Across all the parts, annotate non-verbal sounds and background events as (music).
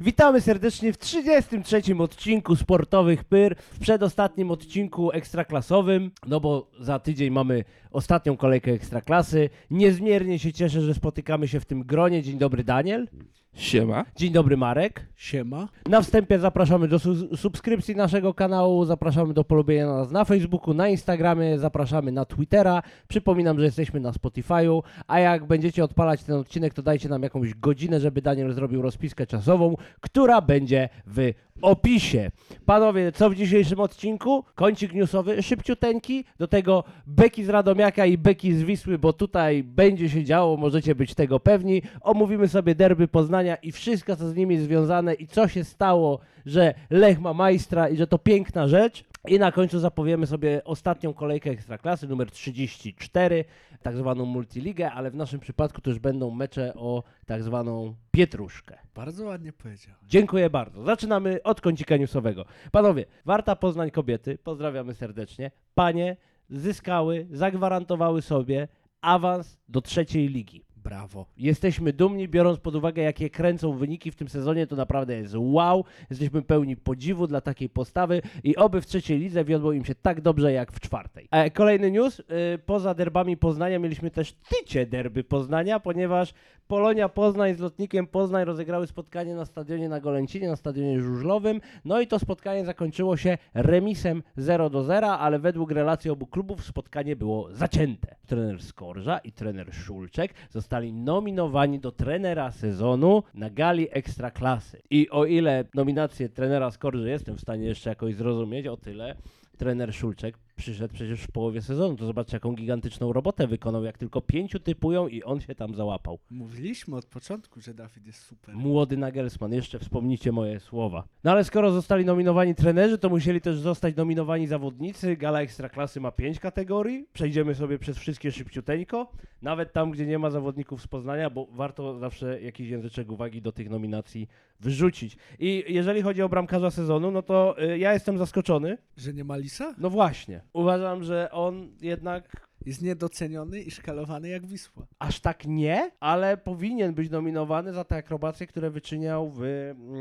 Witamy serdecznie w 33 odcinku Sportowych Pyr, w przedostatnim odcinku ekstraklasowym, no bo za tydzień mamy ostatnią kolejkę ekstraklasy. Niezmiernie się cieszę, że spotykamy się w tym gronie. Dzień dobry Daniel, Siema. dzień dobry Marek. Siema. Na wstępie zapraszamy do su- subskrypcji naszego kanału, zapraszamy do polubienia nas na Facebooku, na Instagramie, zapraszamy na Twittera. Przypominam, że jesteśmy na Spotify'u, a jak będziecie odpalać ten odcinek, to dajcie nam jakąś godzinę, żeby Daniel zrobił rozpiskę czasową, która będzie w opisie. Panowie, co w dzisiejszym odcinku? Kącik newsowy, szybciuteńki, do tego beki z Radomiaka i beki z Wisły, bo tutaj będzie się działo, możecie być tego pewni. Omówimy sobie derby Poznania i wszystko, co z nimi związane i co się stało, że Lech ma majstra i że to piękna rzecz. I na końcu zapowiemy sobie ostatnią kolejkę Ekstraklasy, numer 34, tak zwaną Multiligę, ale w naszym przypadku to już będą mecze o tak zwaną Pietruszkę. Bardzo ładnie powiedział. Dziękuję bardzo. Zaczynamy od kącika newsowego. Panowie, Warta Poznań Kobiety, pozdrawiamy serdecznie. Panie zyskały, zagwarantowały sobie awans do trzeciej ligi. Brawo. Jesteśmy dumni, biorąc pod uwagę, jakie kręcą wyniki w tym sezonie, to naprawdę jest wow. Jesteśmy pełni podziwu dla takiej postawy i oby w trzeciej lidze wiodło im się tak dobrze jak w czwartej. E, kolejny news. Y, poza derbami Poznania mieliśmy też tycie derby Poznania, ponieważ Polonia Poznań z Lotnikiem Poznań rozegrały spotkanie na stadionie na Golęcinie, na stadionie żużlowym. No i to spotkanie zakończyło się remisem 0 do 0, ale według relacji obu klubów spotkanie było zacięte. Trener Skorża i trener Szulczek zostali nominowani do trenera sezonu na gali Ekstraklasy. I o ile nominację trenera Skorży jestem w stanie jeszcze jakoś zrozumieć, o tyle trener Szulczek przyszedł przecież w połowie sezonu. To zobaczcie, jaką gigantyczną robotę wykonał, jak tylko pięciu typują i on się tam załapał. Mówiliśmy od początku, że Dawid jest super. Młody Nagelsmann, jeszcze wspomnijcie moje słowa. No ale skoro zostali nominowani trenerzy, to musieli też zostać nominowani zawodnicy. Gala Ekstraklasy ma 5 kategorii. Przejdziemy sobie przez wszystkie szybciuteńko. Nawet tam, gdzie nie ma zawodników z Poznania, bo warto zawsze jakiś języczek uwagi do tych nominacji wrzucić. I jeżeli chodzi o bramkarza sezonu, no to y, ja jestem zaskoczony. Że nie ma Lisa? No właśnie. Uważam, że on jednak Jest niedoceniony i szkalowany jak Wisła. Aż tak nie, ale powinien być nominowany za te akrobacje, które wyczyniał w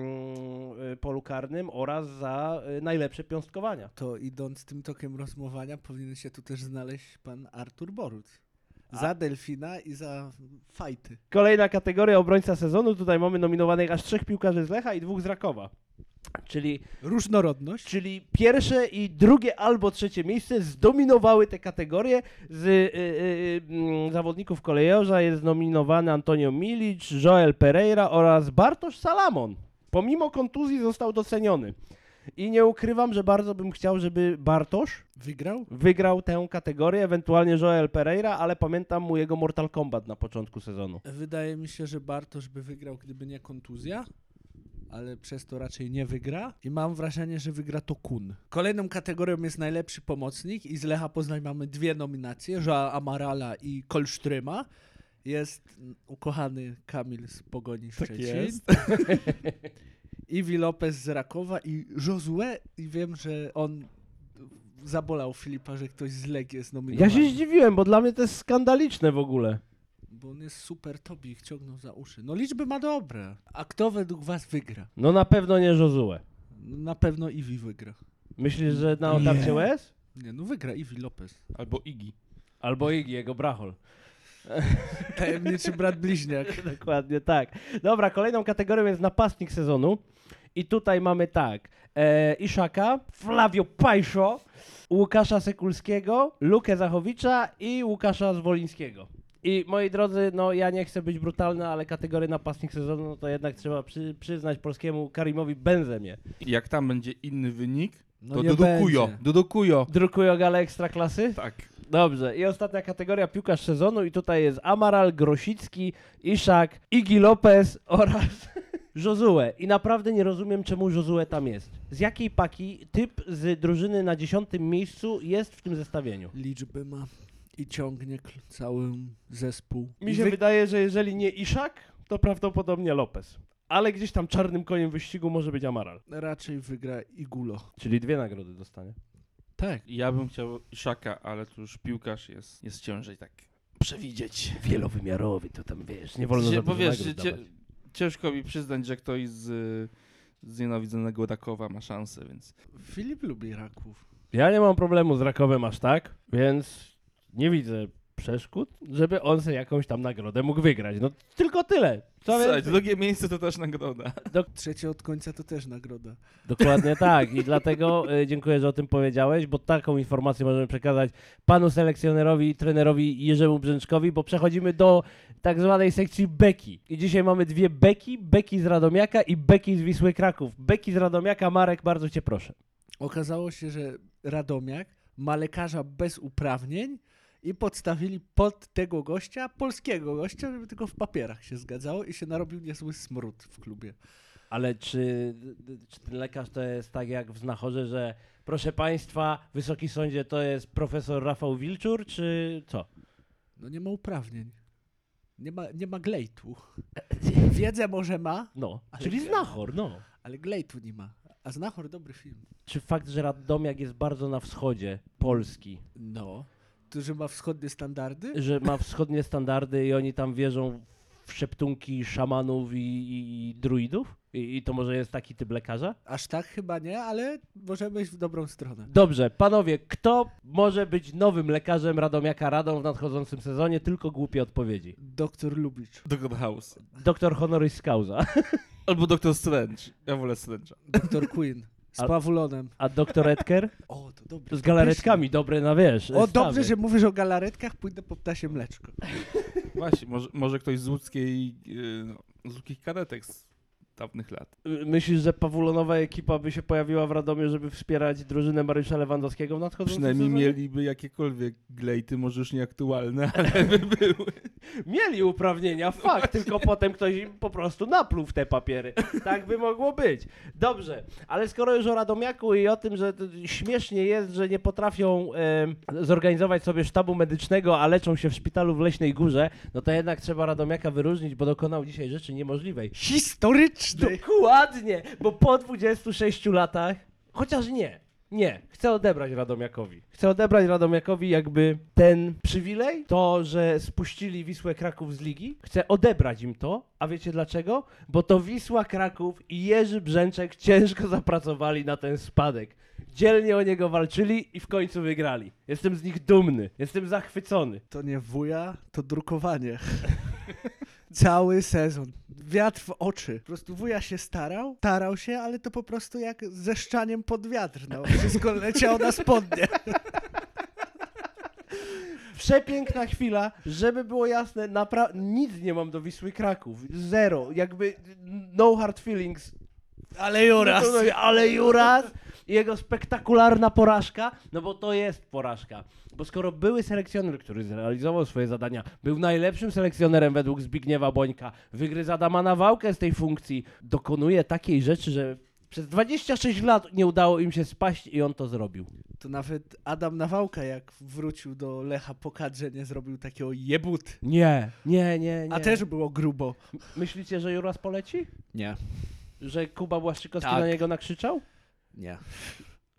mm, y, polu karnym oraz za y, najlepsze piąstkowania. To idąc tym tokiem rozmowania powinien się tu też znaleźć pan Artur Borut. Za Delfina i za fajty. Kolejna kategoria obrońca sezonu. Tutaj mamy nominowanych aż trzech piłkarzy z Lecha i dwóch z Rakowa. Czyli, Różnorodność. czyli pierwsze i drugie albo trzecie miejsce zdominowały te kategorie. Z y, y, y, mm, zawodników kolejorza jest nominowany Antonio Milic, Joel Pereira oraz Bartosz Salamon. Pomimo kontuzji został doceniony. I nie ukrywam, że bardzo bym chciał, żeby Bartosz Wygrał? wygrał tę kategorię, ewentualnie Joel Pereira, ale pamiętam mu jego Mortal Kombat na początku sezonu. Wydaje mi się, że Bartosz by wygrał, gdyby nie kontuzja, ale przez to raczej nie wygra. I mam wrażenie, że wygra to Kun. Kolejną kategorią jest najlepszy pomocnik i z Lecha Poznań mamy dwie nominacje, Joa Amarala i Kolsztryma. Jest mm, ukochany Kamil z Pogoni Szczecin. jest. (laughs) Iwi Lopez z Rakowa i Josue i wiem, że on zabolał Filipa, że ktoś z Legii jest Ja nominowany. się zdziwiłem, bo dla mnie to jest skandaliczne w ogóle. Bo on jest super, Tobi ich ciągnął za uszy. No liczby ma dobre. A kto według was wygra? No na pewno nie Jozue. No, na pewno Iwi wygra. Myślisz, że na otarcie łez? Nie, no wygra Iwi Lopez. (laughs) Albo Igi. Albo Igi, jego brachol. Tajemniczy brat bliźniak. (laughs) Dokładnie tak. Dobra, kolejną kategorią jest napastnik sezonu. I tutaj mamy tak. E, Iszaka, Flavio Pajszo, Łukasza Sekulskiego, Lukę Zachowicza i Łukasza Zwolińskiego. I moi drodzy, no ja nie chcę być brutalny, ale kategoria napastnik sezonu no, to jednak trzeba przy, przyznać polskiemu Karimowi Benzemie. I jak tam będzie inny wynik, No to nie dodokujo. będzie. Dodokujo. Drukują gale ekstraklasy? Tak. Dobrze, i ostatnia kategoria piłkarz sezonu i tutaj jest Amaral, Grosicki, Iszak, Igi Lopez oraz (laughs) Jozue. I naprawdę nie rozumiem, czemu Jozue tam jest. Z jakiej paki typ z drużyny na dziesiątym miejscu jest w tym zestawieniu? Liczby ma i ciągnie kl- cały zespół. Mi I się wy- wydaje, że jeżeli nie Iszak, to prawdopodobnie Lopez. Ale gdzieś tam czarnym koniem wyścigu może być Amaral. Raczej wygra Igulo. Czyli dwie nagrody dostanie. Tak. Ja bym chciał Szaka, ale tu już piłkarz jest, jest ciężej tak przewidzieć. Wielowymiarowy, to tam Znaczy, wiesz, nie Się- wolno bo wiesz, że cię, ciężko mi przyznać, że ktoś z y, znienawidzonego Rakowa ma szansę, więc Filip lubi raków. Ja nie mam problemu z Rakowem aż tak, więc nie widzę przeszkód, żeby on sobie jakąś tam nagrodę mógł wygrać. No tylko tyle. Co Słuchaj, więcej? drugie miejsce to też nagroda. (laughs) Trzecie od końca to też nagroda. Dokładnie tak i dlatego y, dziękuję, że o tym powiedziałeś, bo taką informację możemy przekazać panu selekcjonerowi i trenerowi Jerzemu Brzęczkowi, bo przechodzimy do tak zwanej sekcji beki. I dzisiaj mamy dwie beki, beki z Radomiaka i beki z Wisły Kraków. Beki z Radomiaka, Marek, bardzo cię proszę. Okazało się, że Radomiak ma lekarza bez uprawnień i podstawili pod tego gościa, polskiego gościa, żeby tylko w papierach się zgadzało i się narobił niezły smród w klubie. Ale czy, czy ten lekarz to jest tak jak w Znachorze, że proszę państwa, Wysoki Sądzie to jest profesor Rafał Wilczur, czy co? No nie ma uprawnień. Nie ma, nie ma glejtu. Wiedzę może ma, No, Ale czyli gdzie? Znachor, no. ale glejtu nie ma. A Znachor dobry film. Czy fakt, że Radomiak jest bardzo na wschodzie Polski, No. To, że ma wschodnie standardy? że ma wschodnie standardy i oni tam wierzą w szeptunki szamanów i, i, i druidów? I, I to może jest taki typ lekarza? Aż tak chyba nie, ale możemy iść w dobrą stronę. Dobrze, panowie, kto może być nowym lekarzem Radomiaka Radą w nadchodzącym sezonie? Tylko głupie odpowiedzi. Doktor Lubicz. Dr. House. Doktor honoris causa. Albo Dr. Strange. Ja wolę Strange'a. Doktor Queen. Z Ale- Pawulonem. A doktor (laughs) Edker? O, to dobrze. Z galaretkami, dobre na wiesz. O, stawy. dobrze, że mówisz o galaretkach, pójdę po ptasie mleczko. Właśnie, może, może ktoś z łódzkiej, y, no, z łódzkich kadetek z dawnych lat. Myślisz, że pawulonowa ekipa by się pojawiła w Radomiu, żeby wspierać drużynę Mariusza Lewandowskiego w nadchodzącym Przynajmniej sezonie? mieliby jakiekolwiek glejty, może już nieaktualne, ale by były. Mieli (laughs) uprawnienia, fakt, tylko potem ktoś im po prostu napluł w te papiery. Tak by mogło być. Dobrze, ale skoro już o Radomiaku i o tym, że to śmiesznie jest, że nie potrafią em, zorganizować sobie sztabu medycznego, a leczą się w szpitalu w Leśnej Górze, no to jednak trzeba Radomiaka wyróżnić, bo dokonał dzisiaj rzeczy niemożliwej. Historyczny! Dokładnie, bo po 26 latach, chociaż nie, nie, chcę odebrać Radomiakowi. Chcę odebrać Radomiakowi jakby ten przywilej, to, że spuścili Wisłę Kraków z ligi. Chcę odebrać im to, a wiecie dlaczego? Bo to Wisła Kraków i Jerzy Brzęczek ciężko zapracowali na ten spadek. Dzielnie o niego walczyli i w końcu wygrali. Jestem z nich dumny, jestem zachwycony. To nie wuja, to drukowanie. (laughs) Cały sezon. Wiatr w oczy. Po prostu wuja się starał, starał się, ale to po prostu jak zeszczaniem pod wiatr. No. Wszystko leciało na spodnie. Przepiękna chwila, żeby było jasne, napra- nic nie mam do Wisły Kraków. Zero, jakby no hard feelings. Ale Joras. No, no, ale Juras i jego spektakularna porażka, no bo to jest porażka. Bo skoro były selekcjoner, który zrealizował swoje zadania, był najlepszym selekcjonerem według Zbigniewa Bońka, wygryza Dama na wałkę z tej funkcji, dokonuje takiej rzeczy, że przez 26 lat nie udało im się spaść i on to zrobił. (laughs) To nawet Adam Nawałka, jak wrócił do Lecha po kadrze, nie zrobił takiego jebut. Nie, nie, nie, nie. A też było grubo. Myślicie, że Juras poleci? Nie, Że Kuba Błaszczykowski Tak. na niego nakrzyczał? nie.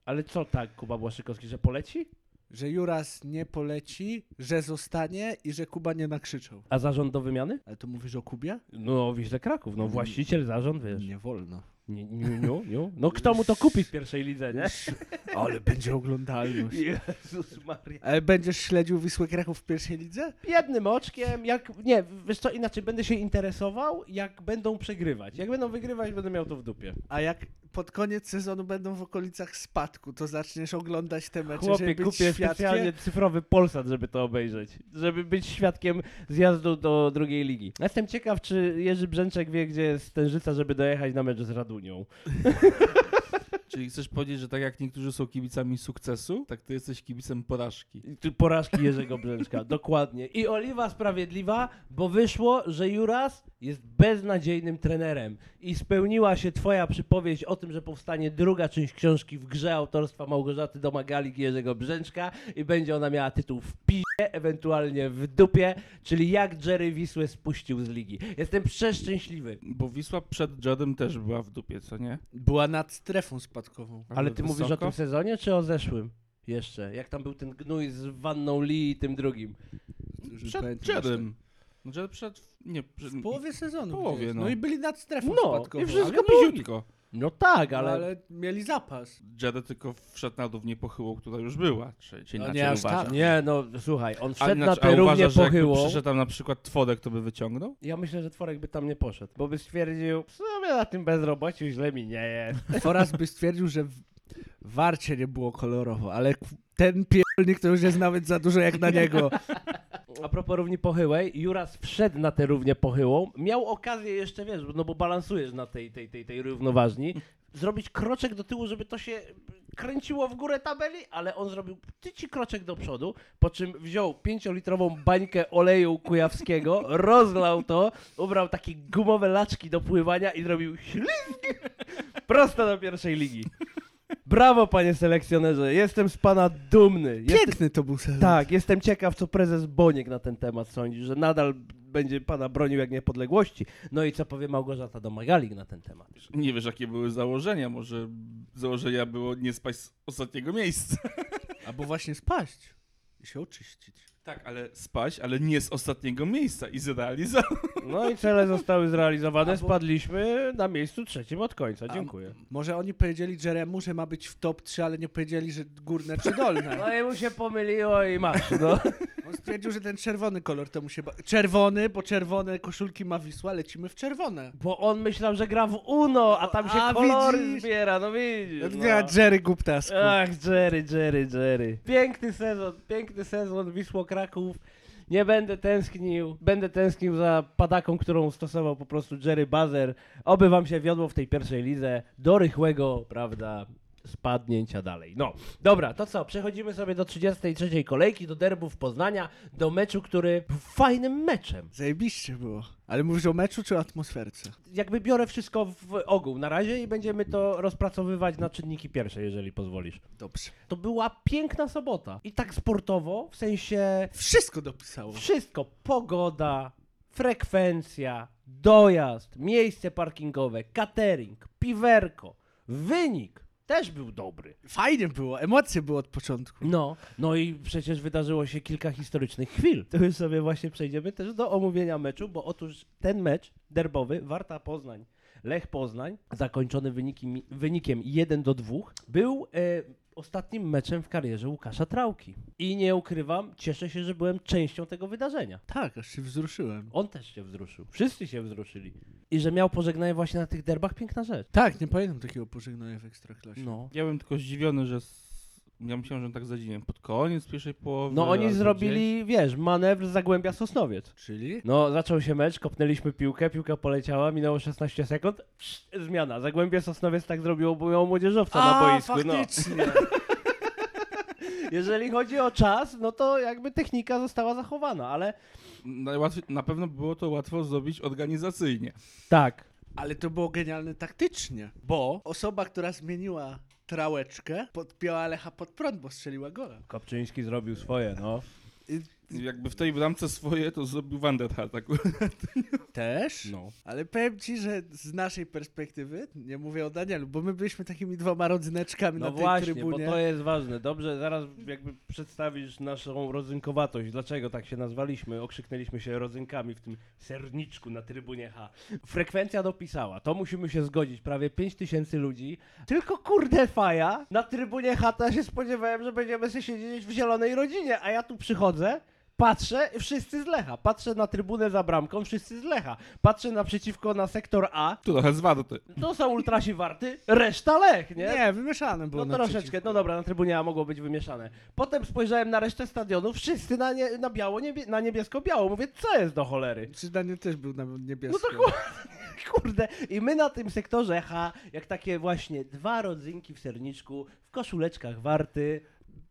Ale co tak, Kuba Błaszczykowski, że poleci? Że Juras nie poleci, że zostanie i że Kuba nie nakrzyczał. A zarząd do wymiany? Ale to mówisz o Kubie? No, Wiśle Kraków, no właściciel, zarząd, wiesz. Nie wolno. Nie, nie, nie, nie. No kto mu to kupi w pierwszej lidze, (laughs) nie? Ale będzie oglądalność. Jezus Maria. Ale będziesz śledził Wisłę Kraków w pierwszej lidze? Jednym oczkiem, jak, nie, wiesz co, inaczej będę się interesował, jak będą przegrywać. Jak będą wygrywać, będę miał to w dupie. A jak pod koniec sezonu będą w okolicach spadku, to zaczniesz oglądać te mecze, Znaczy, żeby Chłopie, być kupię świadkiem? specjalnie cyfrowy Polsat, żeby to obejrzeć. Żeby być świadkiem zjazdu do drugiej ligi. Ja Jestem ciekaw, czy Jerzy Brzęczek wie, gdzie jest Stężyca, żeby dojechać na mecz z Radunią. (laughs) Czyli chcesz powiedzieć, że tak jak niektórzy są kibicami sukcesu, tak ty jesteś kibicem porażki. I tu Porażki Jerzego Brzęczka, (laughs) dokładnie. I Oliwa Sprawiedliwa, bo wyszło, że Juras jest beznadziejnym trenerem. I spełniła się twoja przypowiedź o tym, że powstanie druga część książki w grze autorstwa Małgorzaty Domagalik i Jerzego Brzęczka i będzie ona miała tytuł w pi ewentualnie w dupie, czyli jak Jerry Wisłę spuścił z ligi. Jestem przeszczęśliwy. Bo Wisła przed Jadem też była w dupie, co nie? Była nad strefą spadkową. Ale ty mówisz o wysoko. tym sezonie, czy o zeszłym? Jeszcze. Jak tam był ten gnój z Wanną Lee i tym drugim. Już Przed pamiętam, że- Jadem. Znaczy przed... Nie, przed... tak. W połowie sezonu. połowie, gdzieś. no. i byli nad strefą No, spadkową. i wszystko Ale było bliziutko. No tak, ale... ale... ale mieli zapas. (laughs) Jared tylko wszedł na dół w niepochyłą, która już była. Czy, czy No inaczej nie aż uważa. tak. Nie, no słuchaj, on A, wszedł na inaczej, tę a równię uważasz, że jakby pochyłą. przyszedł tam na przykład Twodek, to by wyciągnął? Ja myślę, że Tworek by tam nie poszedł, bo by stwierdził, w sumie na tym bezrobociu źle mi nie jest. Oraz by stwierdził, że w warcie nie było kolorowo, ale k- ten pierdolnik to już jest nawet za dużo jak na niego. A propos równi pochyłej, Juras wszedł na tę równię pochyłą, miał okazję jeszcze, wiesz, no bo balansujesz na tej, tej, tej, tej równoważni, zrobić kroczek do tyłu, żeby to się kręciło w górę tabeli, ale on zrobił tyci kroczek do przodu, po czym wziął pięciolitrową bańkę oleju kujawskiego, rozlał to, ubrał takie gumowe laczki do pływania i zrobił ślizg prosto do pierwszej ligi. Brawo, panie selekcjonerze, jestem z pana dumny. Jest, (laughs) Piękny to był sezon. tak, jestem ciekaw, co prezes Boniek na ten temat sądzi, że nadal będzie pana bronił jak niepodległości. No i co powie Małgorzata Domagalik na ten temat. Nie wiesz, jakie były założenia. Może założenia było nie spaść z ostatniego miejsca. Albo właśnie spaść i się oczyścić. Tak, ale spaść, ale nie z ostatniego miejsca i zrealizować. No i cele zostały zrealizowane, Albo- spadliśmy na miejscu trzecim od końca, dziękuję. Może oni powiedzieli Jeremu, że ma być w top 3, ale nie powiedzieli, że górne czy dolne. (laughs) No i mu się pomyliło i masz, (laughs) no. On stwierdził, że ten czerwony kolor to mu się... Ba- czerwony, bo czerwone koszulki ma Wisła, lecimy w czerwone. Bo on myślał, że gra w UNO, a tam się A, kolory widzisz? zbiera, no widzisz. Ja Jerry Guptasku. Ach, Jerry, Jerry, Jerry. Piękny sezon, piękny sezon Wisło Kraków. Nie będę tęsknił, będę tęsknił za padaką, którą stosował po prostu Jerry Bazer. Oby wam się wiodło w tej pierwszej lidze do rychłego, prawda, spadnięcia dalej. No, dobra, to co, przechodzimy sobie do 33. kolejki, do derbów Poznania, do meczu, który był fajnym meczem. Zajebiście było. Ale mówisz o meczu czy o atmosferce? Jakby biorę wszystko w ogół na razie i będziemy to rozpracowywać na czynniki pierwsze, jeżeli pozwolisz. Dobrze. To była piękna sobota. I tak sportowo, w sensie Wszystko dopisało. wszystko. Pogoda, frekwencja, dojazd, miejsce parkingowe, catering, piwerko, wynik też był dobry. Fajnie było, emocje były od początku. No, no i przecież wydarzyło się kilka historycznych chwil. To już sobie właśnie przejdziemy też do omówienia meczu, bo otóż ten mecz derbowy Warta Poznań. Lech Poznań, zakończony wyniki, wynikiem 1 do 2, był e, ostatnim meczem w karierze Łukasza Trauki. I nie ukrywam, cieszę się, że byłem częścią tego wydarzenia. Tak, aż się wzruszyłem. On też się wzruszył, wszyscy się wzruszyli. I że miał pożegnanie właśnie na tych derbach, piękna rzecz. Tak, nie pamiętam takiego pożegnania w Ekstraklasie. No. Ja byłem tylko zdziwiony, że... s- Ja myślałem, że tak zadziwiłem pod koniec pierwszej połowy. No oni albo gdzieś. zrobili, wiesz, manewr Zagłębia Sosnowiec. Czyli? No, zaczął się mecz, kopnęliśmy piłkę, piłka poleciała, minęło 16 sekund, psz, zmiana. Zagłębie Sosnowiec tak zrobiło, bo miał młodzieżowca na boisku. faktycznie. (laughs) No. Jeżeli chodzi o czas, no to jakby technika została zachowana, ale Najłatwiej, na pewno było to łatwo zrobić organizacyjnie. tak. Ale to było genialne taktycznie, bo osoba, która zmieniła trałeczkę, podpięła Lecha pod prąd, bo strzeliła gola. Kopczyński zrobił swoje, no. Jakby w tej bramce swoje to zrobił Vanderhart (laughs) akurat. Też? No. Ale powiem ci, że z naszej perspektywy, nie mówię o Danielu, bo my byliśmy takimi dwoma rodzyneczkami No na tej właśnie, trybunie. bo to jest ważne. Dobrze, zaraz jakby przedstawisz naszą rodzynkowatość. Dlaczego tak się nazwaliśmy? Okrzyknęliśmy się rodzynkami w tym serniczku na trybunie H. Frekwencja dopisała, to musimy się zgodzić. Prawie 5 tysięcy ludzi. Tylko kurde faja, na trybunie H to ja się spodziewałem, że będziemy sobie siedzieć w zielonej rodzinie, a ja tu przychodzę. Patrzę, wszyscy z Lecha. Patrzę na trybunę za bramką, wszyscy z Lecha. Patrzę naprzeciwko na sektor A, Trochę zwarty. to są ultrasi warty, reszta Lech, nie? Nie, wymieszane było No na troszeczkę, no dobra, na trybunie mogło być wymieszane. Potem spojrzałem na resztę stadionu, wszyscy na, nie, na biało, niebie, na niebiesko-biało. Mówię, co jest do cholery? (laughs) Czy Daniel też był na No niebieskim? to kurde, kurde. I my na tym sektorze H, jak takie właśnie dwa rodzynki w serniczku, w koszuleczkach warty,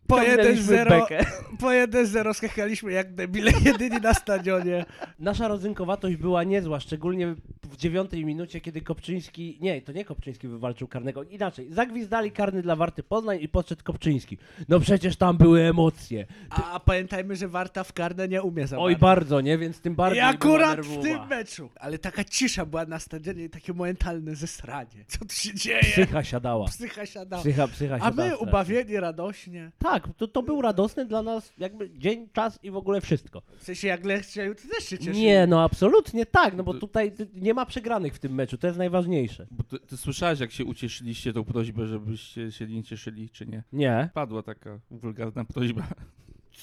Po ciągnęliśmy 1-0. bekę. (laughs) Po 1-0 skakaliśmy jak debile, jedyni na stadionie. Nasza rodzynkowatość była niezła, szczególnie w dziewiątej minucie, kiedy Kopczyński, nie, to nie Kopczyński wywalczył karnego, inaczej, zagwizdali karny dla Warty Poznań i podszedł Kopczyński. No przecież tam były emocje. A, a pamiętajmy, że Warta w karne nie umie za Oj, bardzo. bardzo, nie? Więc tym bardziej I była akurat w nerwowa. tym meczu. Ale taka cisza była na stadionie i takie momentalne zesranie. Co tu się dzieje? Psycha siadała. Psycha siada. Psycha, psycha A siadała. my strasznie. ubawieni, radośnie. Tak, tak, to, to był radosny dla nas jakby dzień, czas i w ogóle wszystko. W sensie jak Lech strzelił, to też się cieszył. Nie, no absolutnie tak, no bo To- tutaj ty- nie ma przegranych w tym meczu, to jest najważniejsze. Bo ty, ty słyszałeś, jak się ucieszyliście tą prośbę, żebyście się nie cieszyli, czy nie? Nie. Padła taka wulgarna prośba.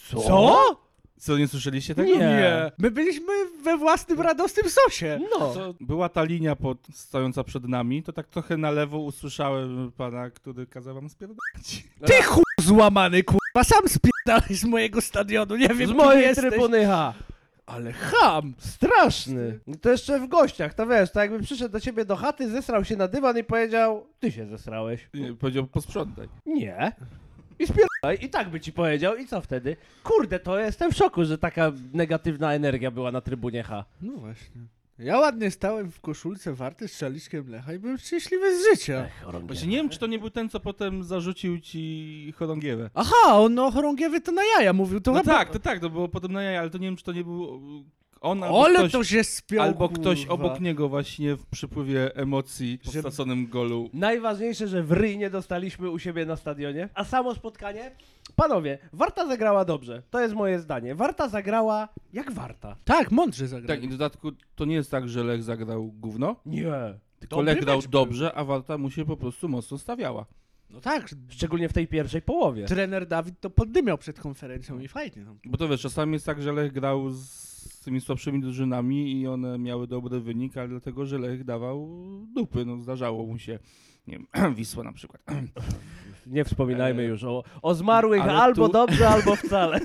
Co? Co, nie słyszeliście tego? no. Nie. Nie. My byliśmy we własnym radosnym sosie. No. Co, była ta linia pod, stojąca przed nami, to tak trochę na lewo usłyszałem pana, który kazał wam spierdolić. Ty chuj złamany, kurwa, sam spierdalaj z mojego stadionu, nie wiem Z kim mojej jesteś. trybuny H. Ale ham! Straszny. No To jeszcze w gościach, to wiesz, to jakby przyszedł do ciebie do chaty, zesrał się na dywan i powiedział, ty się zesrałeś. Nie, Powiedział, posprzątaj. Nie. I spierdolaj. I tak by ci powiedział. I co wtedy? Kurde, to jestem w szoku, że taka negatywna energia była na trybunie H. No właśnie. Ja ładnie stałem w koszulce warty z szaliczkiem Lecha i byłem szczęśliwy z życia. Ech, chorągiewa. Właśnie nie wiem, czy to nie był ten, co potem zarzucił ci chorągiewę. Aha, on o chorągiewie to na jaja mówił, to No chyba... tak, to tak, to było potem na jaja, ale to nie wiem, czy to nie był on albo Ale ktoś, to się spiął, albo ktoś kurwa. obok niego właśnie w przypływie emocji po Żeby- straconym golu. Najważniejsze, że w ryj nie dostaliśmy u siebie na stadionie. A samo spotkanie? Panowie, Warta zagrała dobrze. To jest moje zdanie. Warta zagrała jak Warta. Tak, mądrze zagrał. Tak, i w dodatku to nie jest tak, że Lech zagrał gówno, Nie. tylko Dobry Lech grał mecz był. dobrze, a Warta mu się po prostu mocno stawiała. No tak, Szczególnie w tej pierwszej połowie. trener Dawid to poddymiał przed konferencją i fajnie. No. Bo to wiesz, czasami jest tak, że Lech grał z tymi słabszymi drużynami i one miały dobry wynik, ale dlatego, że Lech dawał dupy, no zdarzało mu się. Nie wiem, (clears throat) Wisła na przykład. Nie wspominajmy E, już o, o zmarłych ale albo tu- dobrze, albo wcale.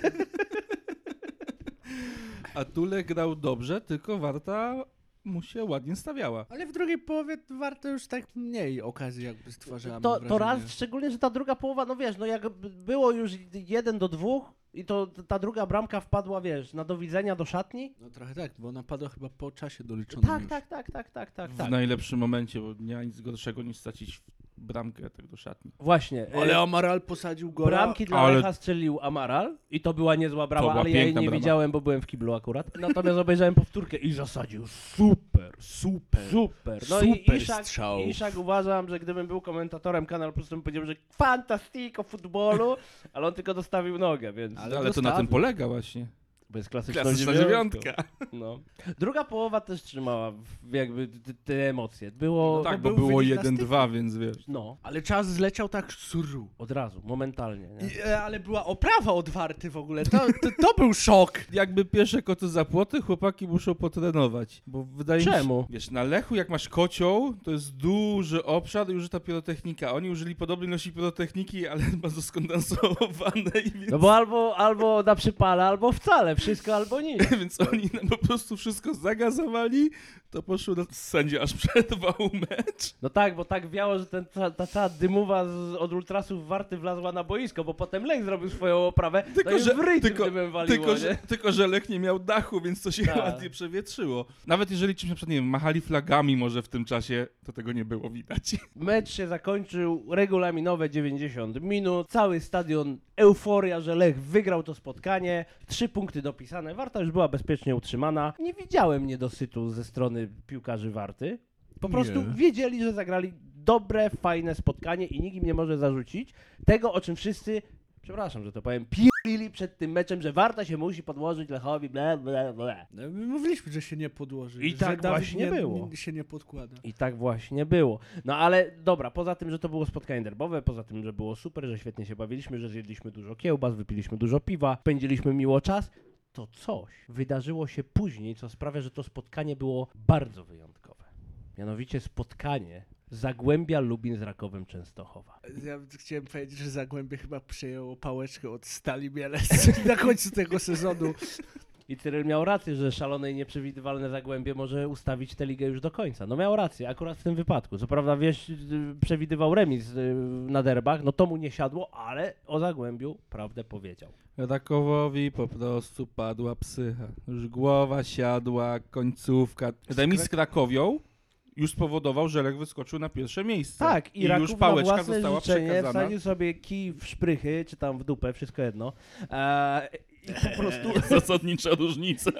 A tu Lech grał dobrze, tylko Warta mu się ładnie stawiała. Ale w drugiej połowie warto już tak mniej okazji jakby stwarzała. mam To, to wrażenie. raz, szczególnie, że ta druga połowa, no wiesz, no jak b- było już 1 do 2 i to t- ta druga bramka wpadła, wiesz, na do widzenia do szatni. No trochę tak, bo ona padła chyba po czasie doliczonym Tak, już. tak, tak, tak, tak, tak, w tak. najlepszym momencie, bo nie ma nic gorszego niż stracić bramkę tak do szatni. Właśnie. e, Ale Amaral posadził gola. Bramki dla Ale- Lecha strzelił Amaral i to była niezła brama, była ale ja jej nie piękna brama. widziałem, bo byłem w kiblu akurat. Natomiast obejrzałem powtórkę i zasadził super, super, super. No Super i Iszak, strzał. Iszak uważam, że gdybym był komentatorem Kanal Plus, to bym powiedział, że fantastico futbolu, ale on tylko dostawił nogę, więc... Ale Ale, to na dostawy. tym polega właśnie. Bo jest klasyczną Klasyczna dziewiątką. dziewiątka. No. Druga połowa też trzymała w- jakby te, te emocje. Było. No tak, bo bo był było wynik na 1-2, więc wiesz. No, Ale czas zleciał tak suru. od razu, momentalnie. Nie? I, e, ale była oprawa od Warty w ogóle, to, to, to był szok. Jakby pierwsze koty za płoty, chłopaki muszą potrenować. Bo wydaje mi Czemu? się. Wiesz, na lechu, jak masz kocioł, to jest duży obszar i użyta pirotechnika. Oni użyli podobnej nosi pirotechniki, ale bardzo skondensowanej, więc, No bo albo, albo na przypale, albo wcale, wszystko albo nic. (laughs) więc oni nam po prostu wszystko zagazowali. To poszło na sędzia, aż przerwał mecz. No tak, bo tak wiało, że ten, ta, ta cała dymuwa z, od ultrasów warty wlazła na boisko, bo potem Lech zrobił swoją oprawę. Tylko, że, w ryj tylko, dymem waliło, tylko, nie? że, tylko, że Lech nie miał dachu, więc to się Tak. ładnie przewietrzyło. Nawet jeżeli czymś, na przykład, nie wiem, machali flagami może w tym czasie, to tego nie było widać. (laughs) Mecz się zakończył, regulaminowe 90 minut, cały stadion euforia, że Lech wygrał to spotkanie, trzy punkty dopisane, Warta już była bezpiecznie utrzymana. Nie widziałem niedosytu ze strony piłkarzy Warty. Po Nie. prostu wiedzieli, że zagrali dobre, fajne spotkanie i nikt im nie może zarzucić tego, o czym wszyscy, przepraszam, że to powiem, pilili przed tym meczem, że Warta się musi podłożyć Lechowi, ble, ble, ble. No, my mówiliśmy, że się nie podłoży. I że tak Dawid właśnie nie, było. Nie, się nie podkłada. I tak właśnie było. No ale dobra, poza tym, że to było spotkanie derbowe, poza tym, że było super, że świetnie się bawiliśmy, że zjedliśmy dużo kiełbas, wypiliśmy dużo piwa, spędziliśmy miło czas, to coś wydarzyło się później, co sprawia, że to spotkanie było bardzo wyjątkowe. Mianowicie spotkanie Zagłębia Lubin z Rakowem Częstochowa. Ja chciałem powiedzieć, że Zagłębie chyba przejęło pałeczkę od Stali Mielec (laughs) na końcu tego sezonu. I Cyril miał rację, że szalone i nieprzewidywalne Zagłębie może ustawić tę ligę już do końca. No miał rację, akurat w tym wypadku. Co prawda, wiesz, y, przewidywał remis y, na derbach, no to mu nie siadło, ale o Zagłębiu prawdę powiedział. Rakowowi po prostu padła psycha. Już głowa siadła, końcówka. Remis z Krakowią już spowodował, że Lech wyskoczył na pierwsze miejsce. Tak, i, Raków już pałeczka na własne została życzenie przekazana. (laughs) wsadził sobie kij w szprychy, czy tam w dupę, wszystko jedno. E, I po prostu Zasadnicza różnica.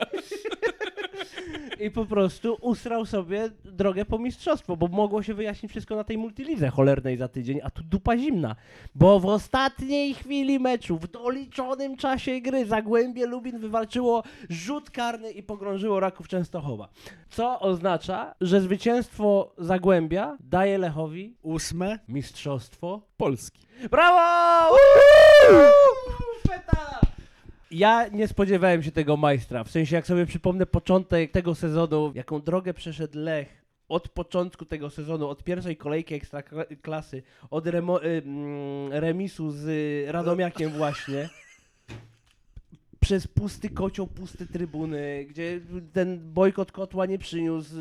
I po prostu usrał sobie drogę po mistrzostwo, bo mogło się wyjaśnić wszystko na tej multilidze cholernej za tydzień, a tu dupa zimna. Bo w ostatniej chwili meczu, w doliczonym czasie gry, Zagłębie Lubin wywalczyło rzut karny i pogrążyło Raków Częstochowa. Co oznacza, że zwycięstwo Zagłębia daje Lechowi Ósme. mistrzostwo Polski. Brawo! Peta! Ja nie spodziewałem się tego majstra. W sensie, jak sobie przypomnę początek tego sezonu, jaką drogę przeszedł Lech od początku tego sezonu, od pierwszej kolejki ekstraklasy, od remo- y, mm, remisu z y, Radomiakiem właśnie. Przez pusty kocioł, puste trybuny, gdzie ten bojkot kotła nie przyniósł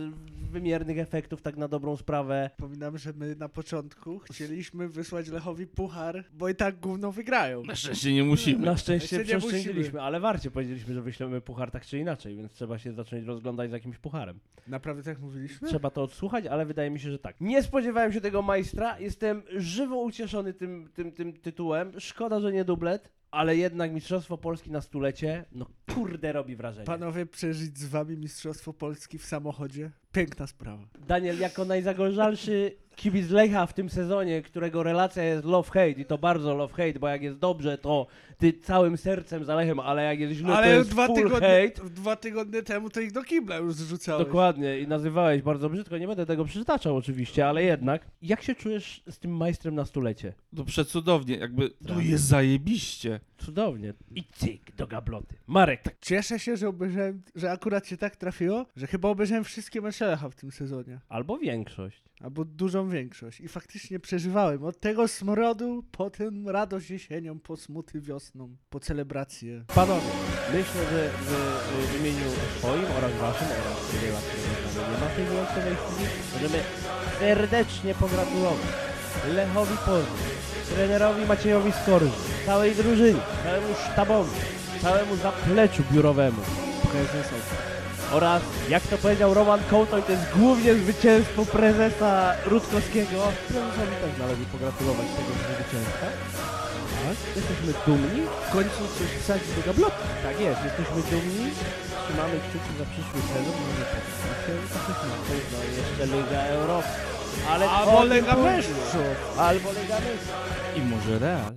wymiernych efektów, tak na dobrą sprawę. Przypominam, że my na początku chcieliśmy wysłać Lechowi puchar, bo i tak gówno wygrają. Na szczęście nie musimy. Na szczęście Jeszcze nie przeszczędziliśmy, musimy. ale warcie powiedzieliśmy, że wyślemy puchar tak czy inaczej, więc trzeba się zacząć rozglądać z jakimś pucharem. Naprawdę tak mówiliśmy? Trzeba to odsłuchać, ale wydaje mi się, że tak. Nie spodziewałem się tego majstra, jestem żywo ucieszony tym, tym, tym tytułem. Szkoda, że nie dublet, ale jednak Mistrzostwo Polski na stulecie, no kurde robi wrażenie. Panowie, przeżyć z wami Mistrzostwo Polski w samochodzie? Piękna sprawa. Daniel, jako najzagorzelszy kibic Lecha w tym sezonie, którego relacja jest love-hate i to bardzo love-hate, bo jak jest dobrze, to ty całym sercem za Lechem, ale jak jest źle, No to Ale jest dwa full tygodnie, hate. dwa tygodnie temu to ich do kibla już zrzucałeś. Dokładnie, i nazywałeś bardzo brzydko, nie będę tego przytaczał oczywiście, ale jednak. Jak się czujesz z tym majstrem na stulecie? To przecudownie, jakby tu Tak. jest zajebiście. Cudownie. I cyk, do gabloty. Marek, Tak. Cieszę się, że obejrzałem, że akurat się tak trafiło, że chyba obejrzałem wszystkie mecze Lecha w tym sezonie. albo większość. Albo dużą większość. I faktycznie przeżywałem od tego smrodu, potem radość jesienią, po smuty wiosną, po celebracje. Panowie, myślę, że w, w imieniu swoim oraz waszym oraz wiela, które nie ma w tej wyłącznej chwili, możemy serdecznie pogratulować Lechowi Poznań, trenerowi Maciejowi Skorży, całej drużynie, całemu sztabowi, całemu zapleczu biurowemu Prezesowi. oraz, jak to powiedział Roman Kołtoń, to jest głównie zwycięstwo prezesa Rutkowskiego. Prezesowi też należy pogratulować tego zwycięstwa. Tak. Jesteśmy dumni. W końcu coś wsadzi do gablotki. Tak jest, jesteśmy dumni. Trzymamy kciuki za przyszły sezon. Może tak się uda. No jeszcze Liga Europy. Ale Albo to- Lega Mistrzów. Albo Liga Mistrzów. I może Real.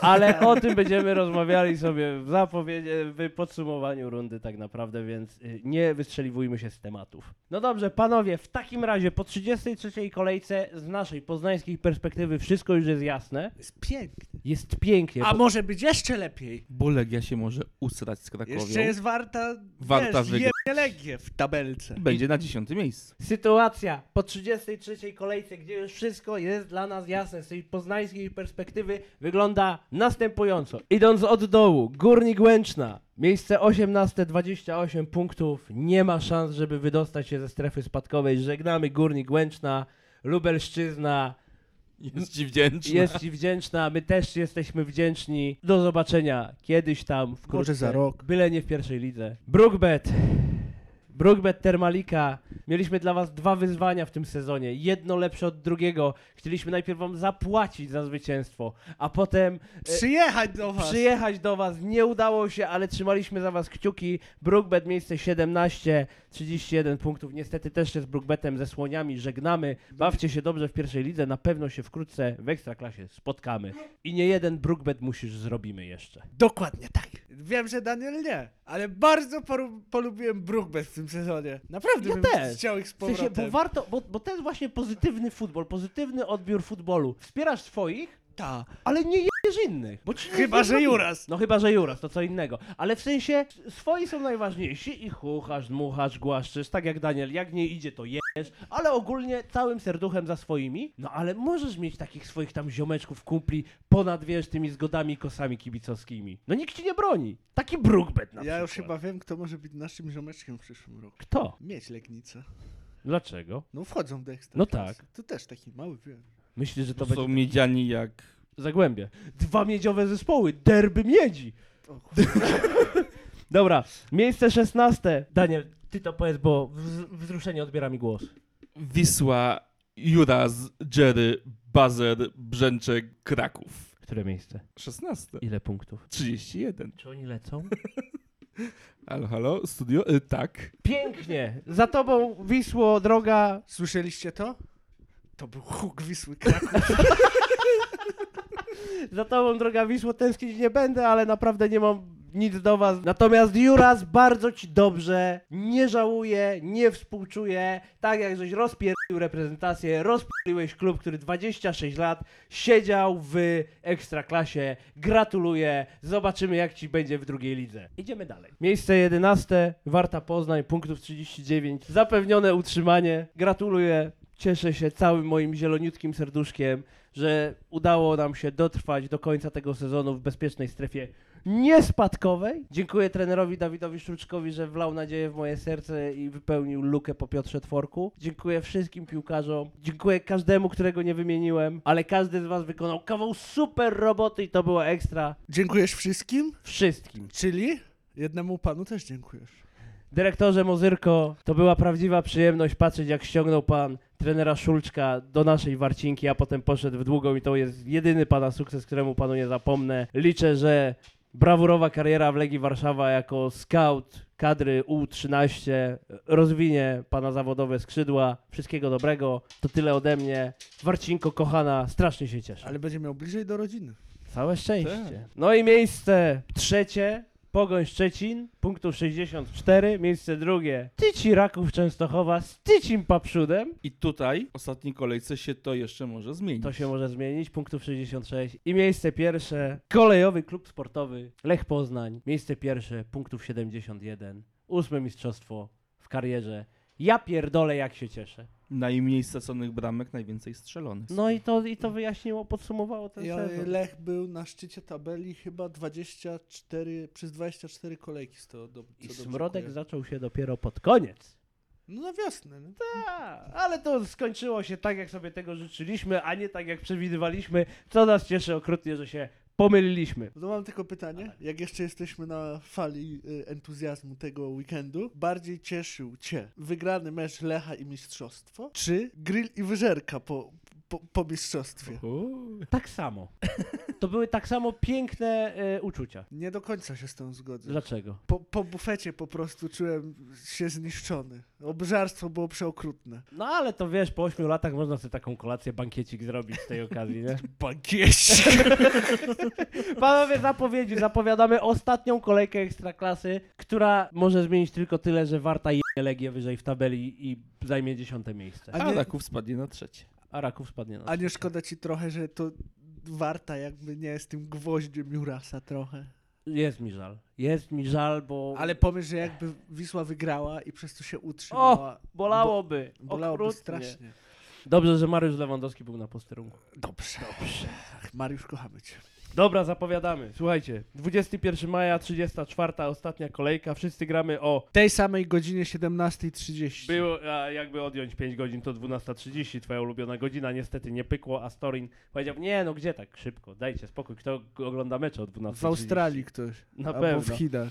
Ale o tym będziemy rozmawiali sobie w zapowiedzi, w podsumowaniu rundy tak naprawdę, więc y, nie wystrzeliwujmy się z tematów. No dobrze, panowie, w takim razie po 33 kolejce z naszej poznańskiej perspektywy wszystko już jest jasne. Jest piękny. Jest pięknie. A bo- może być jeszcze lepiej? Bo Legia się może usrać z Tak Krakowią. Jeszcze jest warta, Warta wiesz, wygrać. jebnie Legię w tabelce. E, I będzie na dziesiątym miejscu. Sytuacja po 33 kolejce, gdzie już wszystko jest dla nas jasne z tej poznańskiej perspektywy, wygląda następująco. Idąc od dołu, Górnik Łęczna, miejsce 18, 28 punktów, nie ma szans, żeby wydostać się ze strefy spadkowej. Żegnamy Górnik Łęczna, Lubelszczyzna, Jest ci wdzięczny. jest Ci wdzięczna, my też jesteśmy wdzięczni. Do zobaczenia kiedyś tam, wkrótce. Może za rok. Byle nie w pierwszej lidze. Brookbet. Brookbet Termalika. Mieliśmy dla Was dwa wyzwania w tym sezonie. Jedno lepsze od drugiego. Chcieliśmy najpierw Wam zapłacić za zwycięstwo, a potem e, Przyjechać do was. przyjechać do Was. Nie udało się, ale trzymaliśmy za Was kciuki. Brookbet miejsce 17, 31 punktów. Niestety też się z Brookbetem, ze Słoniami żegnamy. Bawcie się dobrze w pierwszej lidze. Na pewno się wkrótce w Ekstraklasie spotkamy. I nie jeden Brookbet musisz zrobimy jeszcze. Dokładnie tak. Wiem, że Daniel nie, ale bardzo poru- polubiłem Brookbet w tym sezonie. Naprawdę Ja bym też. chciał ich z W sensie, powrotem. bo warto, bo, bo to jest właśnie pozytywny futbol, pozytywny odbiór futbolu. Wspierasz swoich, Ta. ale nie jedziesz innych. Bo ci nic Chyba, nie że zrobili. Juras. No chyba, że Juras, to co innego. Ale w sensie, swoi są najważniejsi i chuchasz, dmuchasz, głaszczysz, tak jak Daniel, jak nie idzie to jesz, ale ogólnie całym serduchem za swoimi. No ale możesz mieć takich swoich tam ziomeczków, kumpli, ponad, wiesz, tymi zgodami, kosami kibicowskimi. No nikt ci nie broni. Taki brukbet na Ja przykład. już chyba wiem, kto może być naszym ziomeczkiem w przyszłym roku. Kto? Mieć Legnica. Dlaczego? No wchodzą do ekstra. No To też taki mały wiem. Myślisz, że to To No będzie... są miedziani jak... Zagłębie. Dwa miedziowe zespoły, derby miedzi. O Dobra, miejsce 16. Daniel, ty to powiedz, bo wz- wzruszenie odbiera mi głos. Wisła, Juras, Jerry, Bazer, Brzęczek, Kraków. Które miejsce? 16. Ile punktów? 31. Czy oni lecą? Halo, halo, studio? Y, tak. (laughs) Pięknie! Za tobą Wisło, droga... Słyszeliście to? To był huk Wisły Kraków. (laughs) Za tobą, droga Wisło, tęsknić nie będę, ale naprawdę nie mam nic do was. Natomiast Juras, bardzo ci dobrze, nie żałuję, nie współczuję. Tak jak żeś rozpierdolił reprezentację, rozpierdoliłeś klub, który 26 lat siedział w Ekstraklasie. Gratuluję, zobaczymy jak ci będzie w drugiej lidze. Idziemy dalej. Miejsce 11, Warta Poznań, punktów 39. Zapewnione utrzymanie. Gratuluję, cieszę się całym moim zieloniutkim serduszkiem, że udało nam się dotrwać do końca tego sezonu w bezpiecznej strefie niespadkowej. Dziękuję trenerowi Dawidowi Sztuczkowi, że wlał nadzieję w moje serce i wypełnił lukę po Piotrze Tworku. Dziękuję wszystkim piłkarzom, dziękuję każdemu, którego nie wymieniłem, ale każdy z was wykonał kawał super roboty i to było ekstra Dziękujesz wszystkim, wszystkim. czyli jednemu panu też dziękujesz. Dyrektorze Mozyrko, to była prawdziwa przyjemność patrzeć, jak ściągnął pan trenera Szulczka do naszej Warcinki, a potem poszedł w długą i to jest jedyny pana sukces, któremu panu nie zapomnę. Liczę, że brawurowa kariera w Legii Warszawa jako scout kadry U13 rozwinie pana zawodowe skrzydła. Wszystkiego dobrego. To tyle ode mnie. Warcinko, kochana, strasznie się cieszę. Ale będzie miał bliżej do rodziny. Całe szczęście. Tak. No i miejsce trzecie, Pogoń Szczecin, punktów 64. Miejsce drugie, Tyci Raków Częstochowa z Tycim Papszudem. I tutaj w ostatniej kolejce się to jeszcze może zmienić. To się może zmienić, punktów 66. I miejsce pierwsze, Kolejowy Klub Sportowy Lech Poznań. Miejsce pierwsze, punktów 71. Ósme mistrzostwo w karierze. Ja pierdolę, jak się cieszę. Najmniej straconych bramek, najwięcej strzelonych. No i to, i to wyjaśniło, podsumowało ten I sezon. Lech był na szczycie tabeli chyba 24, przez 24 kolejki z to do, co I dobrze smrodek kojarzę. zaczął się dopiero pod koniec. No na wiosnę. No. A, ale to skończyło się tak, jak sobie tego życzyliśmy, a nie tak, jak przewidywaliśmy, co nas cieszy okrutnie, że się pomyliliśmy. No mam tylko pytanie, jak jeszcze jesteśmy na fali y, entuzjazmu tego weekendu, bardziej cieszył Cię wygrany mecz Lecha i mistrzostwo, czy grill i wyżerka po, po, po mistrzostwie? Uuu. Tak samo. To były tak samo piękne e, uczucia. Nie do końca się z tą zgodzę. Dlaczego? Po, po bufecie po prostu czułem się zniszczony. Obżarstwo było przeokrutne. No ale to wiesz, po 8 latach można sobie taką kolację, bankiecik zrobić z tej okazji, (laughs) nie? Bagieś! Panowie, zapowiedzi, zapowiadamy ostatnią kolejkę Ekstraklasy, która może zmienić tylko tyle, że Warta je Legię wyżej w tabeli i zajmie dziesiąte miejsce. A A nie- Raków spadnie na trzecie. A Raków spadnie na (laughs) A nie szkoda ci trochę, że to warta jakby nie jest tym gwoździem Jurasa trochę. Jest mi żal. Jest mi żal, bo... Ale pomyśl, że jakby Wisła wygrała i przez to się utrzymała. Bolałoby. Bo, bolałoby okrutnie. strasznie. Dobrze, że Mariusz Lewandowski był na posterunku. Dobrze. Dobrze. Mariusz, kochamy cię. Dobra, zapowiadamy. Słuchajcie, 21 maja, 34, ostatnia kolejka. Wszyscy gramy o... W tej samej godzinie 17.30. Było, a jakby odjąć 5 godzin, to 12.30, twoja ulubiona godzina. Niestety nie pykło, a Storin powiedział, nie no, gdzie tak szybko, dajcie spokój, kto ogląda mecze o 12.30? No, W Australii ktoś. Na albo pewno. w Chinach.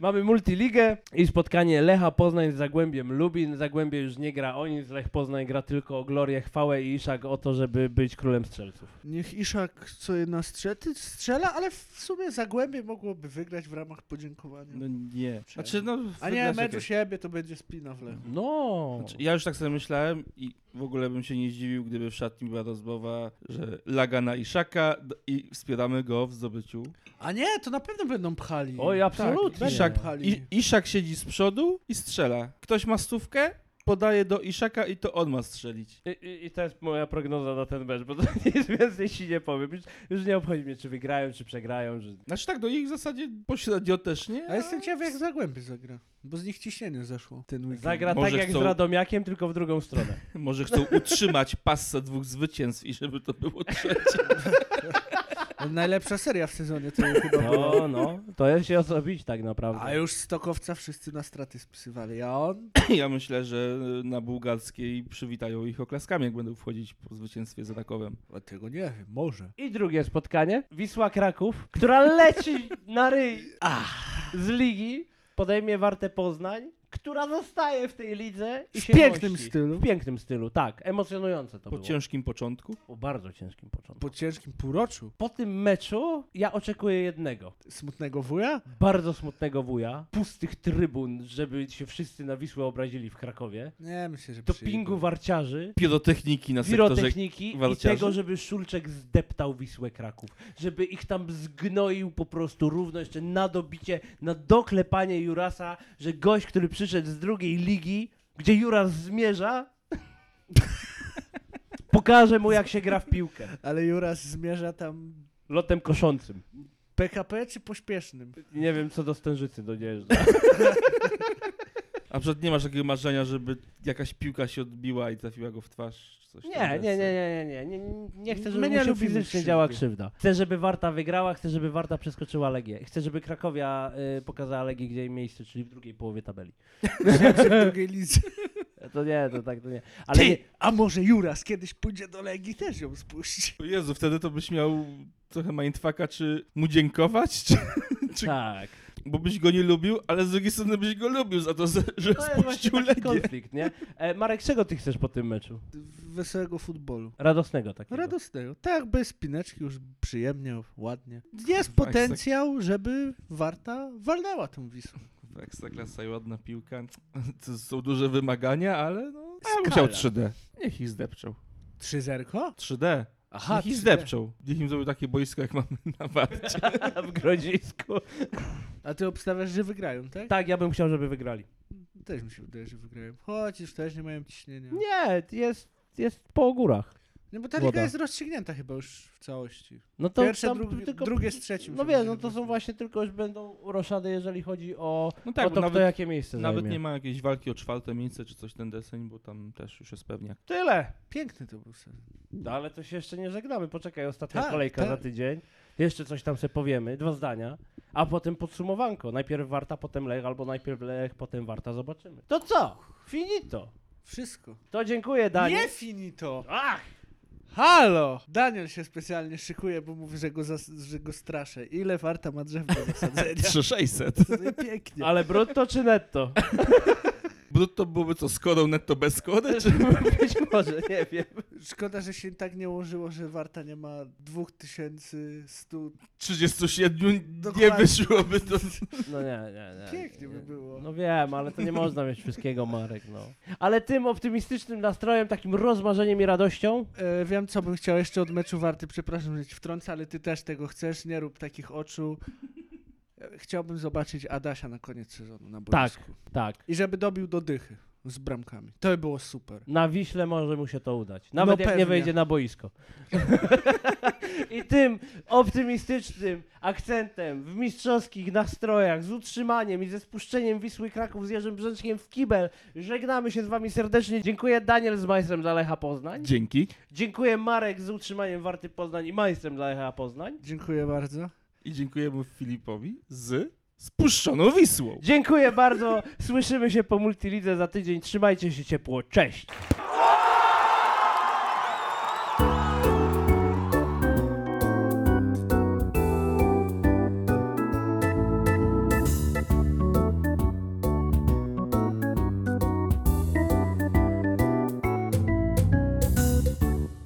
Mamy multiligę i spotkanie Lecha Poznań z Zagłębiem Lubin. Zagłębie już nie gra o nic, Lech Poznań gra tylko o glorię, chwałę i Iszak o to, żeby być królem strzelców. Niech Iszak co jedna strzety strzela, ale w sumie Zagłębie mogłoby wygrać w ramach podziękowania. No nie. Znaczy, no, A nie, wygrasz mecz u jakieś- siebie to będzie spina w Lechu. No! Znaczy, ja już tak sobie myślałem i w ogóle bym się nie zdziwił, gdyby w szatni była rozmowa, że laga na Iszaka d- i wspieramy go w zdobyciu. Tak, A nie, to na pewno będą pchali. Oj, absolutnie. Będą Iszak- pchali. I, Iszak siedzi z przodu i strzela. Ktoś ma stówkę, podaje do Iszaka i to on ma strzelić. I, i, I to jest moja prognoza na ten mecz, bo to (laughs) nic więcej ci nie powiem. Już, już nie obchodzi mnie, czy wygrają, czy przegrają. Że... Znaczy tak, no ich w zasadzie pośrednio też nie. A jestem ciekawy, jak Zagłębie zagra. Bo z nich ciśnienie zeszło ten weekend. Zagra tak Może jak z chcą- Radomiakiem, tylko w drugą stronę. Może chcą utrzymać passę dwóch zwycięstw i żeby to było trzecie. Najlepsza seria w sezonie to chyba (laughs) była. No, no. To jest się osobić tak naprawdę. A już Stokowca wszyscy na straty spisywali, a on... Ja myślę, że na bułgarskiej przywitają ich oklaskami, jak będą wchodzić po zwycięstwie z Rakowem. A tego nie wiem, może. I drugie spotkanie. Wisła Kraków, (laughs) która leci na ryj z ligi, podejmie Wartę Poznań. która zostaje w tej lidze i W się pięknym mości. stylu. W pięknym stylu, tak. Emocjonujące to Po było. ciężkim początku. Po bardzo ciężkim początku. Po ciężkim półroczu Po tym meczu ja oczekuję jednego. smutnego wuja? Bardzo smutnego wuja, pustych trybun, żeby się wszyscy na Wisłę obrazili w Krakowie, Nie, myślę, że dopingu przyjdzie. warciarzy, Pirotechniki na sektorze. pirotechniki i walciarzy? tego, żeby Szulczek zdeptał Wisłę Kraków. Żeby ich tam zgnoił po prostu równo jeszcze na dobicie, na doklepanie Jurasa, że gość, który przyszedł z drugiej ligi, gdzie Juras zmierza, (laughs) pokaże mu jak się gra w piłkę. Ale Juras zmierza tam Lotem koszącym. PKP czy (laughs) pośpiesznym? Nie wiem, co do Stężycy dojeżdża. A przed nie masz takiego marzenia, żeby jakaś piłka się odbiła i trafiła go w twarz? czy Coś tam Nie, nie, nie, wreszcie? nie, nie, nie, nie, nie chcę, żeby My nie mu się lubimy fizycznie krzywdy. działa krzywda. Chcę, żeby Warta wygrała, chcę, żeby Warta przeskoczyła Legię. Chcę, żeby Krakowia y, pokazała Legii, gdzie jej miejsce, czyli w drugiej połowie tabeli. Czy w drugiej lidze? To nie, to tak, to nie. Ale Ty, nie, a może Juras kiedyś pójdzie do Legii też ją spuści? O Jezu, wtedy to byś miał trochę mindfucka, czy mu dziękować, czy, czy, (laughs) tak. bo byś go nie lubił, ale z drugiej strony byś go lubił za to, że, że To jest właśnie spuścił taki Legię. konflikt, nie? E, Marek, czego ty chcesz po tym meczu? Wesołego futbolu. Radosnego takiego. Radosnego. Tak, bez spineczki już przyjemnie, ładnie. Jest potencjał, żeby Warta walnęła tą Wisłą. Ekstraklasa i ładna piłka. To są duże wymagania, ale no... Ja bym Skala. chciał 3D. Niech ich zdepczą. 3-0? 3D. Aha, Niech ich 3D. zdepczą. Niech im zrobił takie boisko, jak mamy na warcie. (laughs) w Grodzisku. A ty obstawiasz, że wygrają, tak? Tak, ja bym chciał, żeby wygrali. Też mi się wydaje, że wygrają. Chociaż też nie mają ciśnienia. Nie, Nie, jest, jest po górach. no bo ta Woda. liga jest rozstrzygnięta chyba już w całości. No to Pierwsze, tam drugi, tylko... drugie z trzecim. No się wiesz, będzie no to są rozmawiać. właśnie tylko już będą roszady, jeżeli chodzi o, No tak, o bo to, nawet- kto jakie miejsce Nawet zajmie. nie ma jakiejś walki o czwarte miejsce, czy coś ten deseń, bo tam też już jest pewniak. Tyle. Piękny to był sen. No, ale to się jeszcze nie żegnamy. Poczekaj, ostatnia Tak, kolejka tak. za tydzień. Jeszcze coś tam sobie powiemy, dwa zdania, a potem podsumowanko. Najpierw Warta, potem Lech, albo najpierw Lech, potem Warta, zobaczymy. To co? Finito. Wszystko. To dziękuję, Daniel. Nie finito! Ach! Halo! Daniel się specjalnie szykuje, bo mówi, że go, zas- że go straszę. Ile warta ma drzew do wysadzenia? 3600. (laughs) Tutaj pięknie. Ale brutto czy netto? Brutto byłoby co, z kodą, netto bez kody? Czy... (laughs) Być może, nie wiem. Szkoda, że się tak nie ułożyło, że warta nie ma 2100. 37 Dokładnie. nie wyszłoby to. No nie, nie, nie. Pięknie nie. by było. No wiem, ale to nie można mieć wszystkiego, Marek, no. Ale tym optymistycznym nastrojem, takim rozmarzeniem i radością, E, wiem, co bym chciał jeszcze od meczu warty. Przepraszam, że ci wtrącę, ale ty też tego chcesz. Nie rób takich oczu. E, Chciałbym zobaczyć Adasia na koniec sezonu na boisku. Tak. tak, I żeby dobił do dychy z bramkami. To by było super. na Wiśle może mu się to udać. Nawet jak pewnie. nie wejdzie na boisko. (laughs) I tym optymistycznym akcentem w mistrzowskich nastrojach, z utrzymaniem i ze spuszczeniem Wisły Kraków z Jerzym Brzęczkiem w kibel, żegnamy się z wami serdecznie. Dziękuję Daniel z Majstrem dla Lecha Poznań. Dzięki. Dziękuję Marek z utrzymaniem Warty Poznań i Majstrem dla Lecha Poznań. Dziękuję bardzo. I dziękujemy Filipowi z spuszczoną Wisłą. Dziękuję bardzo. Słyszymy się po multilidze za tydzień. Trzymajcie się ciepło. Cześć.